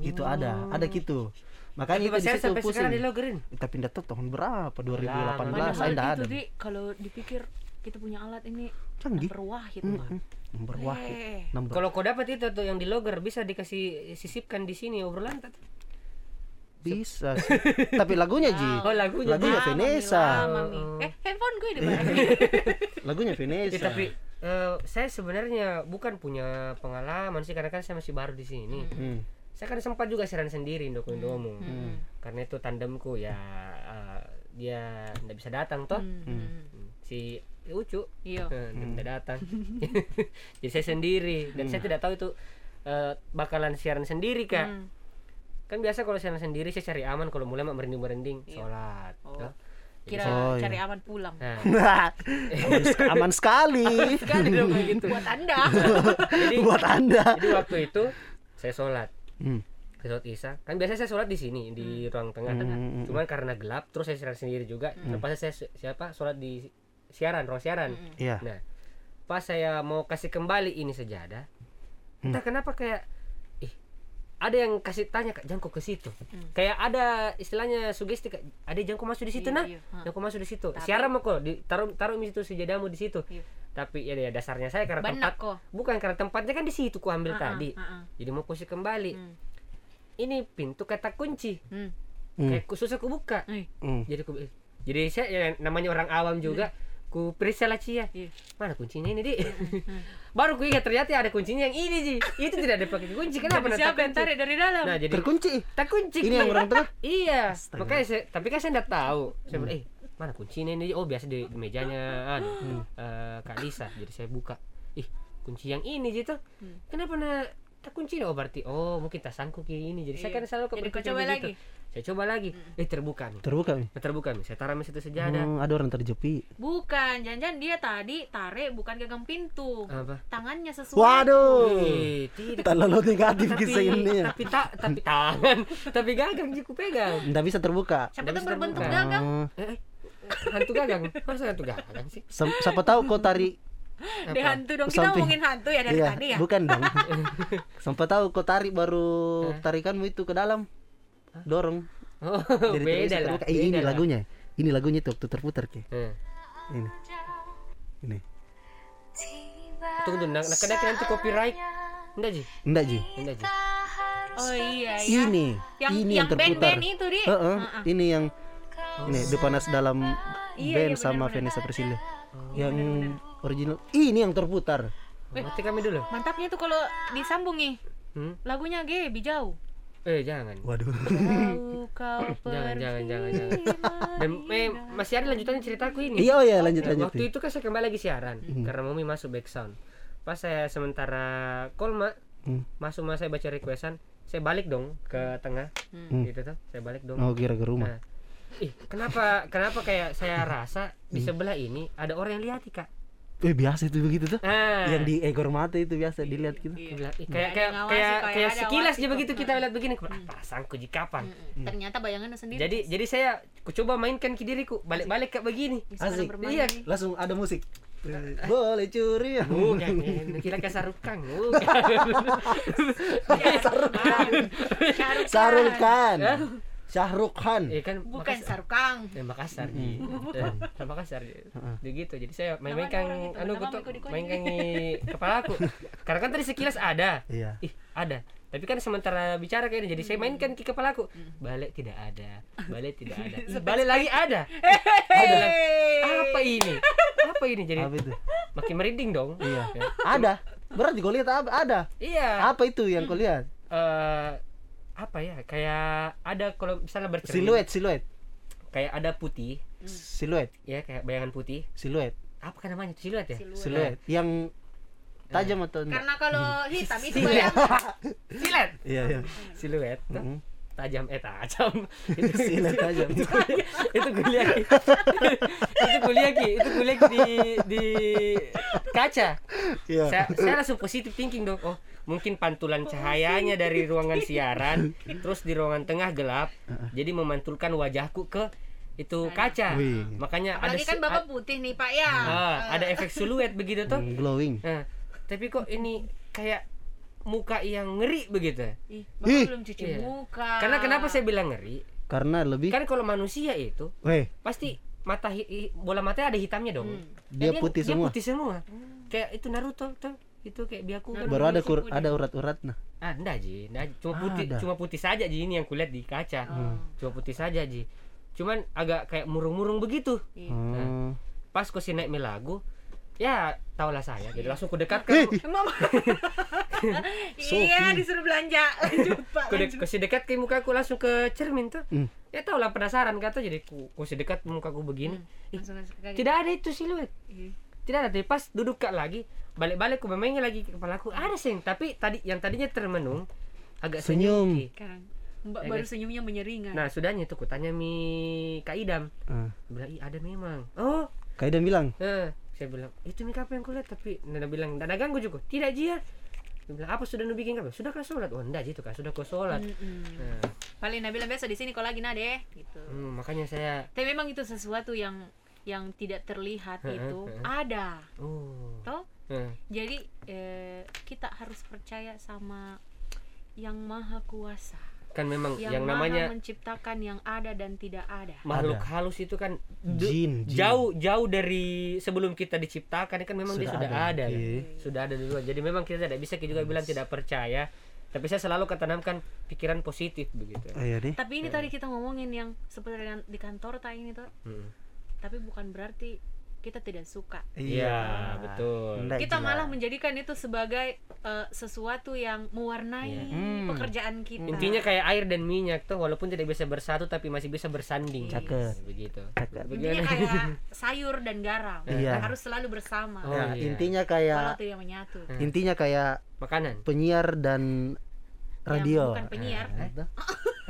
Speaker 2: Itu ada, ada gitu.
Speaker 1: Tapi
Speaker 2: Makanya itu
Speaker 1: Mas
Speaker 2: di
Speaker 1: Eri
Speaker 2: situ
Speaker 1: sampai sekarang
Speaker 2: pusing.
Speaker 1: dilogerin.
Speaker 2: Tapi ndak tahu tahun berapa?
Speaker 1: Padahal
Speaker 2: 2018 saya
Speaker 3: Padahal
Speaker 2: ndak
Speaker 3: gitu
Speaker 2: ada.
Speaker 3: di kalau dipikir kita punya alat ini gitu,
Speaker 2: Canggih. Mm,
Speaker 3: number wahid
Speaker 2: Mm-mm. Nomor wahid.
Speaker 3: Eh.
Speaker 2: Nomor.
Speaker 1: Kalau kau dapat itu tuh yang di logger bisa dikasih sisipkan di sini obrolan tak?
Speaker 2: bisa sih. tapi lagunya Ji.
Speaker 1: Oh lagunya.
Speaker 2: Lagunya
Speaker 3: Ah,
Speaker 2: Vanessa. Iya.
Speaker 3: mami, mami. Eh, handphone gue di mana?
Speaker 2: Lagunya
Speaker 1: Ya,
Speaker 2: Vanessa.
Speaker 1: tapi eh, saya sebenarnya bukan punya pengalaman sih karena kan saya masih baru di sini.
Speaker 2: Hmm.
Speaker 1: Saya kan sempat juga siaran sendiri Indo Indomu.
Speaker 3: Hmm.
Speaker 1: Karena itu tandemku ya eh, dia nggak bisa datang toh.
Speaker 3: Hmm.
Speaker 1: Si Ucu
Speaker 3: Iya.
Speaker 1: eh, dia tidak datang. Jadi saya sendiri dan saya tidak tahu itu eh, bakalan siaran sendiri kak.
Speaker 3: Hmm.
Speaker 1: Kan biasa kalau siaran sendiri saya cari aman kalau mulai mak merinding-merinding sholat.
Speaker 3: Oh.
Speaker 1: toh.
Speaker 3: Kira
Speaker 2: Oh, iya.
Speaker 3: cari aman pulang.
Speaker 1: Nah,
Speaker 2: aman, aman sekali
Speaker 1: sekali dong kayak gitu.
Speaker 3: Buat Anda.
Speaker 1: Jadi
Speaker 2: buat Anda.
Speaker 1: Jadi waktu itu saya sholat,
Speaker 2: Hmm.
Speaker 1: saya sholat isya. Kan biasanya saya sholat di sini di
Speaker 3: Hmm.
Speaker 1: ruang tengah-tengah. Cuman karena gelap, terus saya siaran sendiri juga.
Speaker 3: Hmm.
Speaker 1: Terpaksa saya si- siapa sholat di siaran ruang siaran.
Speaker 2: Iya.
Speaker 1: Nah, pas saya mau kasih kembali ini sejadah,
Speaker 3: Hmm.
Speaker 1: entah kenapa kayak ih ada yang kasih tanya kak jangan kau ke situ
Speaker 3: Hmm.
Speaker 1: kayak ada istilahnya sugesti kak ada jangan kau masuk di situ
Speaker 3: Iya,
Speaker 1: nah
Speaker 3: iya. Ha.
Speaker 1: jangan kau masuk di situ siaran mau kok di- taruh taruh di situ sejadamu di situ
Speaker 3: Iya.
Speaker 1: tapi ya, ya dasarnya saya karena tempat
Speaker 3: Benak kok.
Speaker 1: bukan karena tempatnya kan di situ ku ambil
Speaker 3: Ah, ah,
Speaker 1: tadi
Speaker 3: ah, ah.
Speaker 1: jadi mau kusik kembali
Speaker 3: Hmm.
Speaker 1: ini pintu kata kunci
Speaker 3: Hmm.
Speaker 2: Hmm.
Speaker 1: kayak ku- susah ku buka
Speaker 3: Eh,
Speaker 2: Hmm.
Speaker 1: jadi ku eh, jadi saya ya, namanya orang awam juga ku periksa lah Ci, ya
Speaker 3: Hmm. Iya. Hmm.
Speaker 1: mana kuncinya ini di baru ku ingat ternyata ada kuncinya yang ini sih itu tidak ada pakai kunci kenapa
Speaker 3: Jadi
Speaker 1: ada
Speaker 3: siapa yang
Speaker 1: kunci?
Speaker 3: tarik dari dalam?
Speaker 1: nah jadi
Speaker 2: Terkunci.
Speaker 1: tak kunci
Speaker 2: Ini yang
Speaker 1: Ki.
Speaker 2: orang tengah?
Speaker 1: iya
Speaker 2: Astaga. Hmm.
Speaker 1: makanya saya, tapi kan saya tidak tahu saya bilang eh mana kuncinya ini oh biasa di, di mejanya anu,
Speaker 2: Hmm.
Speaker 1: eh, kak Lisa jadi saya buka ih kunci yang ini gitu
Speaker 3: Hmm.
Speaker 1: kenapa na tak kunci oh berarti oh mungkin tak sanggup kayak ini jadi saya
Speaker 3: Iya.
Speaker 1: kan selalu
Speaker 3: Jadi kau
Speaker 1: kepikiran
Speaker 3: coba
Speaker 1: begitu.
Speaker 3: lagi? Hmm.
Speaker 1: saya coba lagi eh terbuka nih Eh,
Speaker 2: Terbuka Mi?
Speaker 1: terbuka nih saya taruh di situ sejadah
Speaker 2: Hmm, ada orang terjepi.
Speaker 3: Bukan, jangan-jangan dia tadi tarik bukan gagang pintu.
Speaker 1: Apa?
Speaker 3: Tangannya sesuai.
Speaker 2: Waduh.
Speaker 1: Eh, tidak
Speaker 2: Terlalu negatif
Speaker 1: tapi,
Speaker 2: kisah Oh. ini. ya.
Speaker 1: tapi tak tapi tangan tapi gagang jiku pegang
Speaker 2: Nggak bisa terbuka.
Speaker 3: Siapa
Speaker 1: Nggak
Speaker 3: tuh
Speaker 1: bisa
Speaker 3: berbentuk
Speaker 1: terbuka.
Speaker 3: gagang?
Speaker 2: Hmm.
Speaker 1: eh, eh, hantu gagang masa hantu gagang sih
Speaker 2: Sem- siapa tahu kau tarik
Speaker 1: Apa?
Speaker 3: Deh hantu dong. Kita
Speaker 2: Something.
Speaker 3: ngomongin hantu
Speaker 1: Eh,
Speaker 3: ya dari
Speaker 2: Iya,
Speaker 3: tadi ya.
Speaker 2: bukan dong. siapa tahu kau tarik baru
Speaker 1: Eh.
Speaker 2: tarikanmu itu ke dalam. Dorong.
Speaker 1: oh,
Speaker 2: Jadi terus
Speaker 1: beda lah
Speaker 2: terbuka. Eh, ini
Speaker 1: beda lah.
Speaker 2: lagunya. Ini lagunya itu waktu terputar Ki.
Speaker 1: Eh.
Speaker 2: Ini. Ini.
Speaker 1: Tunggu dulu, nak nak kena nanti copyright. Enggak Ji,
Speaker 2: Enggak Ji.
Speaker 1: enggak Ji.
Speaker 3: Oh iya ya.
Speaker 2: Ini.
Speaker 3: Yang-
Speaker 2: ini
Speaker 3: yang
Speaker 2: yang, terputar.
Speaker 3: band-band itu, Di.
Speaker 2: Heeh, ini yang ini The Panas dalam
Speaker 3: Iya,
Speaker 2: band
Speaker 3: iya,
Speaker 2: sama
Speaker 3: benar-benar. Oh.
Speaker 2: Vanessa Priscilla. yang original. Ih, ini yang terputar.
Speaker 1: Mati Oh, kami dulu.
Speaker 3: Mantapnya tuh kalau disambung nih.
Speaker 1: Hmm?
Speaker 3: Lagunya G, Bijau.
Speaker 1: Eh, jangan.
Speaker 2: Waduh.
Speaker 3: Tahu kau
Speaker 1: Hmm. Jangan, jangan, jangan, jangan.
Speaker 3: perfilman.
Speaker 1: Dan eh, masih ada lanjutannya ceritaku ini.
Speaker 2: Iya, oh ya lanjut
Speaker 1: Nah,
Speaker 2: lanjut.
Speaker 1: waktu itu kan saya kembali lagi siaran
Speaker 2: Hmm.
Speaker 1: karena Mami masuk back sound. Pas saya sementara kolma
Speaker 2: Hmm.
Speaker 1: masuk mas saya baca requestan, saya balik dong ke tengah.
Speaker 2: Hmm.
Speaker 1: Gitu tuh, saya balik dong.
Speaker 2: Oh, kira ke rumah.
Speaker 1: Nah, ih, kenapa kenapa kayak saya rasa di
Speaker 2: Hmm.
Speaker 1: sebelah ini ada orang yang lihat Kak.
Speaker 2: Eh, biasa itu begitu tuh.
Speaker 3: Eh.
Speaker 1: Ah.
Speaker 2: Yang di ekor mata itu biasa dilihat gitu.
Speaker 3: Iya,
Speaker 1: Aku bilang, "Ih, Iya. kayak
Speaker 3: Ada
Speaker 1: kayak
Speaker 3: ngawasi,
Speaker 1: kayak
Speaker 3: kayak
Speaker 1: kayak
Speaker 3: ada Hmm.
Speaker 1: sekilas
Speaker 3: awasi
Speaker 1: aja
Speaker 3: kok."
Speaker 1: begitu kita lihat begini aku bilang, "Ah, perasangku di kapan
Speaker 3: Hmm. Ternyata bayangannya sendiri.
Speaker 1: Hmm. jadi jadi saya ku coba mainkan ke diriku balik-balik kayak begini
Speaker 3: Bisa
Speaker 2: Asik.
Speaker 3: bermain. Eh.
Speaker 1: Iya.
Speaker 2: Langsung ada musik. boleh curi ya
Speaker 1: Bukan, men. kira kayak sarukang. Bukan.
Speaker 3: Sarukang. Sarukang.
Speaker 2: Sarul Khan
Speaker 3: Eh.
Speaker 1: Hah?
Speaker 2: Syahrul Khan
Speaker 1: Ya kan
Speaker 3: Bukan
Speaker 1: Makassar.
Speaker 3: sarukang.
Speaker 1: Ya, Makassar di ya, Makassar di di gitu jadi saya main main
Speaker 3: Nama ada
Speaker 1: kang
Speaker 3: orang itu,
Speaker 1: anu
Speaker 3: nama
Speaker 1: gitu
Speaker 3: mengikuti-ikuti.
Speaker 1: main kang di kepala aku karena kan tadi sekilas ada
Speaker 2: iya
Speaker 1: ih ada tapi kan sementara bicara kayaknya jadi saya mainkan ke kepala aku balik tidak ada balik tidak ada Ih, balik lagi ada ada lagi. apa ini apa ini
Speaker 3: Eh.
Speaker 1: jadi
Speaker 2: apa itu
Speaker 1: makin merinding dong iya
Speaker 2: ada berarti kau lihat apa ada
Speaker 1: iya
Speaker 3: Eh.
Speaker 2: apa itu yang kau lihat
Speaker 1: Eh, apa ya kayak ada kalau misalnya
Speaker 3: Eh.
Speaker 1: bercermin
Speaker 2: siluet siluet
Speaker 1: kayak ada putih
Speaker 2: siluet
Speaker 1: ya kayak bayangan putih
Speaker 2: siluet
Speaker 1: apa kan namanya itu siluet ya
Speaker 2: siluet yang tajam atau enggak
Speaker 3: Karena
Speaker 1: Hmm.
Speaker 3: kalau hitam itu
Speaker 1: Silet.
Speaker 3: bayang.
Speaker 1: silet
Speaker 2: iya iya
Speaker 1: siluet tuh.
Speaker 2: Mm.
Speaker 1: tajam eh tajam itu
Speaker 2: Silet tajam.
Speaker 1: itu kuliah Ki. itu kuliah Ki. itu kuliah Ki, di di kaca
Speaker 2: Iya.
Speaker 1: saya, saya langsung positive thinking dong oh mungkin pantulan cahayanya dari ruangan siaran terus di ruangan tengah gelap jadi memantulkan wajahku ke itu kaca
Speaker 2: Wih.
Speaker 1: makanya
Speaker 3: Apalagi
Speaker 1: ada
Speaker 3: kan
Speaker 1: si-
Speaker 3: bapak putih nih pak ya.
Speaker 1: a- ah, ada efek siluet begitu tuh
Speaker 2: Mm, glowing
Speaker 1: Nah, tapi kok ini kayak muka yang ngeri begitu.
Speaker 2: Ih.
Speaker 3: Ih, bapak belum cuci
Speaker 1: Iya.
Speaker 3: muka.
Speaker 1: Karena kenapa saya bilang ngeri?
Speaker 2: karena lebih
Speaker 1: Kan kalau manusia itu
Speaker 2: weh
Speaker 1: pasti mata hi- hi- bola matanya ada hitamnya dong.
Speaker 2: Dia putih semua.
Speaker 1: putih semua. Kayak itu Naruto tuh itu kayak biaku kan.
Speaker 2: baru ada
Speaker 3: Naruto
Speaker 2: kur
Speaker 3: Shippuden.
Speaker 2: ada urat-urat nah
Speaker 1: Ah, enggak Ji, enggak Ji. Cuma putih,
Speaker 2: Ada.
Speaker 1: cuma putih saja Ji ini yang kulihat di kaca. Cuma putih saja Ji. Cuman agak kayak murung-murung begitu.
Speaker 2: Hmm.
Speaker 1: Pas kursi naik melagu, ya tahulah saya. Jadi langsung kudekatkan.
Speaker 3: Emang.
Speaker 1: Hmm.
Speaker 3: iya disuruh belanja. Lanjut
Speaker 1: Ku
Speaker 3: pak.
Speaker 1: de- kursi dekat ke muka aku langsung ke cermin tuh.
Speaker 2: Hmm.
Speaker 1: Ya tau lah penasaran kata jadi ku kursi dekat muka aku begini. Ih,
Speaker 3: Hmm, Langsung masuk ke kaki.
Speaker 1: tidak ada itu siluet.
Speaker 3: Iya.
Speaker 1: Tidak ada. Tapi pas duduk kak lagi, balik-balik ku memangnya lagi ke kepala aku ada sih. Tapi tadi yang tadinya termenung agak senyum.
Speaker 2: Senyum.
Speaker 1: Ki.
Speaker 3: Sekarang. Mbak
Speaker 1: Ya,
Speaker 3: baru
Speaker 1: guys.
Speaker 3: senyumnya menyeringai.
Speaker 1: Nah sudahnya tuh ku tanya mi kak Idam.
Speaker 2: Ah.
Speaker 1: Bilang iya ada memang. Oh,
Speaker 2: Kaidan bilang
Speaker 1: eh, saya bilang itu mi apa yang ku lihat tapi Nana bilang Nana ganggu juga. Tidak jia. Dia bilang apa sudah nu bikin kau? Sudah kau sholat? Oh enggak gitu kak sudah kau sholat.
Speaker 3: Mm-mm.
Speaker 1: Nah,
Speaker 3: Hmm, Paling Nabila biasa di sini kalau lagi nade gitu.
Speaker 1: hmm, makanya saya
Speaker 3: Tapi memang itu sesuatu yang yang tidak terlihat itu ada,
Speaker 1: oh.
Speaker 3: toh.
Speaker 1: eh.
Speaker 3: Jadi eh, kita harus percaya sama yang maha kuasa,
Speaker 1: kan memang yang,
Speaker 3: yang, maha
Speaker 1: namanya
Speaker 3: menciptakan yang ada dan tidak ada.
Speaker 1: makhluk halus itu kan du-
Speaker 2: Jin, jin.
Speaker 1: jauh jauh dari sebelum kita diciptakan kan memang dia
Speaker 2: Sudah
Speaker 1: sudah ada,
Speaker 2: ada,
Speaker 1: kan?
Speaker 2: iya.
Speaker 1: sudah ada duluan jadi memang kita tidak bisa juga bilang tidak percaya tapi saya selalu ketanamkan pikiran positif begitu
Speaker 2: oh, iya deh
Speaker 3: Tapi ini tadi kita ngomongin yang seperti dengan- di kantor tadi ini tuh,
Speaker 1: Mm.
Speaker 3: tapi bukan berarti kita tidak suka.
Speaker 1: iya betul
Speaker 2: Ndak
Speaker 3: Kita
Speaker 2: jelas.
Speaker 3: malah menjadikan itu sebagai eh, sesuatu yang mewarnai
Speaker 2: Hmm.
Speaker 3: pekerjaan kita.
Speaker 1: intinya kayak air dan minyak tuh walaupun tidak bisa bersatu tapi masih bisa bersanding
Speaker 2: Cakep.
Speaker 1: begitu
Speaker 2: Cakep.
Speaker 3: Intinya
Speaker 1: Bagaimana?
Speaker 3: Iya, kayak sayur dan garam
Speaker 2: Iya.
Speaker 3: harus selalu bersama.
Speaker 1: Oh,
Speaker 2: Nah,
Speaker 1: iya.
Speaker 2: intinya
Speaker 3: Kalau
Speaker 2: kayak
Speaker 3: tidak menyatu.
Speaker 2: intinya kayak
Speaker 1: makanan
Speaker 2: penyiar dan radio Eh,
Speaker 3: bukan penyiar.
Speaker 2: Ada.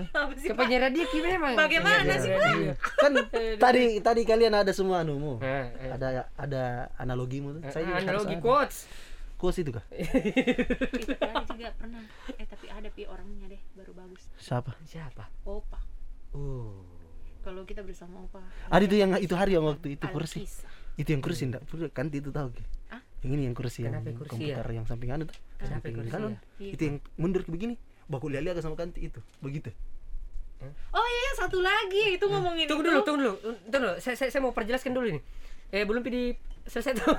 Speaker 3: Apa sih,
Speaker 1: ke
Speaker 3: Pak?
Speaker 1: penyiar radio Ki, memang
Speaker 3: Bagaimana
Speaker 1: Penyiar
Speaker 3: sih,
Speaker 1: radio.
Speaker 2: Iya, kan tadi tadi kalian ada semua anumu
Speaker 1: Nah, eh,
Speaker 2: ada ada analogimu tuh
Speaker 1: eh,
Speaker 2: juga harus
Speaker 1: analogi
Speaker 2: ada.
Speaker 1: quotes
Speaker 2: Quotes itu kah
Speaker 3: Itu tadi Iya, juga pernah. Eh tapi ada pi orangnya deh baru bagus.
Speaker 2: siapa Oh.
Speaker 1: siapa
Speaker 3: Opa.
Speaker 1: uh
Speaker 3: Kalau kita bersama Opa.
Speaker 2: ada itu yang itu hari yang waktu itu kursi
Speaker 3: Alkisah.
Speaker 2: itu yang kursi enggak kan itu tahu Ki?
Speaker 3: Hah?
Speaker 2: yang ini yang kursi yang
Speaker 1: Kenapa kursi ya?
Speaker 2: komputer yang samping anu tuh
Speaker 1: Kenapa
Speaker 2: samping
Speaker 1: kursi
Speaker 2: kanan
Speaker 1: ya?
Speaker 3: Iya.
Speaker 2: itu yang mundur ke begini baku lihat sama kanti itu begitu
Speaker 3: Oh iya satu lagi itu ngomongin
Speaker 1: Tunggu
Speaker 3: itu.
Speaker 1: dulu, tunggu dulu, tunggu dulu. Saya, saya, saya mau perjelaskan dulu ini. Eh belum di selesai tuh.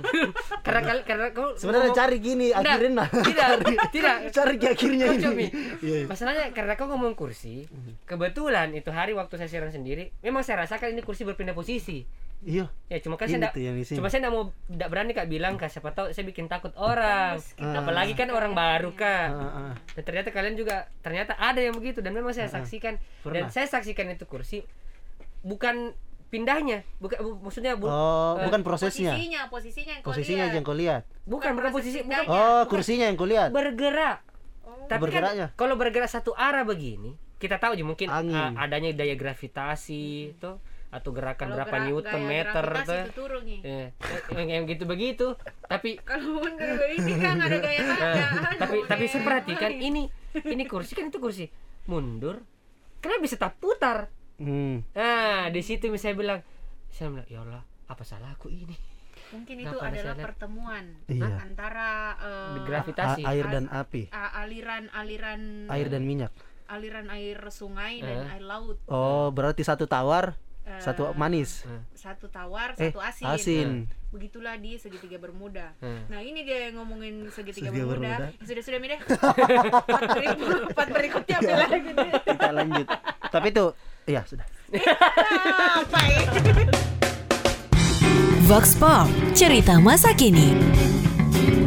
Speaker 1: karena kal- karena kau
Speaker 2: sebenarnya
Speaker 1: ngomong-
Speaker 2: cari gini
Speaker 1: Nggak,
Speaker 2: akhirnya
Speaker 1: tidak, tidak.
Speaker 2: cari ke akhirnya
Speaker 1: Kocok, ya? Mi.
Speaker 2: ini Iya, Mhm. iya.
Speaker 1: Masalahnya karena kau ngomong kursi, kebetulan itu hari waktu saya siaran sendiri, memang saya rasakan ini kursi berpindah posisi.
Speaker 2: iya
Speaker 1: Ya cuma kan
Speaker 2: Ini
Speaker 1: saya
Speaker 2: tuh yang
Speaker 1: enggak
Speaker 2: di sini.
Speaker 1: cuma saya enggak mau enggak berani Kak bilang Kak siapa tahu saya bikin takut orang.
Speaker 2: Ah.
Speaker 1: Apalagi kan orang baru Kak.
Speaker 2: Ah, ah, ah.
Speaker 1: Dan ternyata kalian juga ternyata ada yang begitu dan memang saya saksikan dan
Speaker 2: Pernah.
Speaker 1: saya saksikan itu kursi bukan pindahnya, bukan bu- maksudnya bu-
Speaker 2: oh
Speaker 1: eh,
Speaker 2: bukan prosesnya
Speaker 3: Posisinya, posisinya yang ya. kau
Speaker 2: posisinya
Speaker 3: lihat.
Speaker 2: aja yang kau lihat
Speaker 1: bukan bukan posisi bukan
Speaker 3: pindahnya.
Speaker 2: oh kursinya yang kau lihat
Speaker 1: Iya. bergerak.
Speaker 3: Oh.
Speaker 1: Tapi
Speaker 2: Bergeraknya.
Speaker 1: kan kalau bergerak satu arah begini, kita tahu aja mungkin
Speaker 2: Angin.
Speaker 1: uh, adanya daya gravitasi itu atau gerakan
Speaker 3: Kalau
Speaker 1: berapa
Speaker 3: gerak-
Speaker 1: newton
Speaker 3: gaya
Speaker 1: meter
Speaker 3: gravitasi
Speaker 1: tuh.
Speaker 3: itu turun nih.
Speaker 1: Ya, yang, yang gitu begitu. Tapi
Speaker 3: Kalau pun kalau ini kan ada gaya
Speaker 1: eh,
Speaker 3: tanda.
Speaker 1: tapi
Speaker 3: Aduh,
Speaker 1: tapi
Speaker 3: deh.
Speaker 1: saya perhatikan ini ini kursi kan itu kursi mundur. Kenapa bisa tak putar?
Speaker 2: hmm.
Speaker 1: Nah, di situ misalnya bilang saya bilang, "Ya Allah, apa salah aku ini?"
Speaker 4: mungkin
Speaker 1: Nah,
Speaker 4: itu
Speaker 1: pada
Speaker 4: adalah
Speaker 1: saatnya-
Speaker 4: pertemuan
Speaker 2: Iya.
Speaker 4: antara eh,
Speaker 1: Gravitasi.
Speaker 2: A- air dan api,
Speaker 4: a- aliran aliran
Speaker 2: air dan minyak.
Speaker 4: aliran air sungai
Speaker 1: Eh.
Speaker 4: dan air laut
Speaker 2: Oh, berarti satu tawar,
Speaker 4: Eh,
Speaker 2: satu manis.
Speaker 4: satu tawar
Speaker 2: Eh,
Speaker 4: satu asin.
Speaker 2: asin.
Speaker 4: begitulah di segitiga bermuda
Speaker 1: Hmm.
Speaker 4: nah ini dia yang ngomongin segitiga
Speaker 2: Segitiga
Speaker 4: bermuda, Ya
Speaker 2: Bermuda.
Speaker 4: sudah sudah mire part, berikut- part berikutnya apa lagi nih?
Speaker 2: Kita lanjut. Tapi itu iya sudah.
Speaker 4: apa ini
Speaker 3: Vox Pop, cerita masa kini.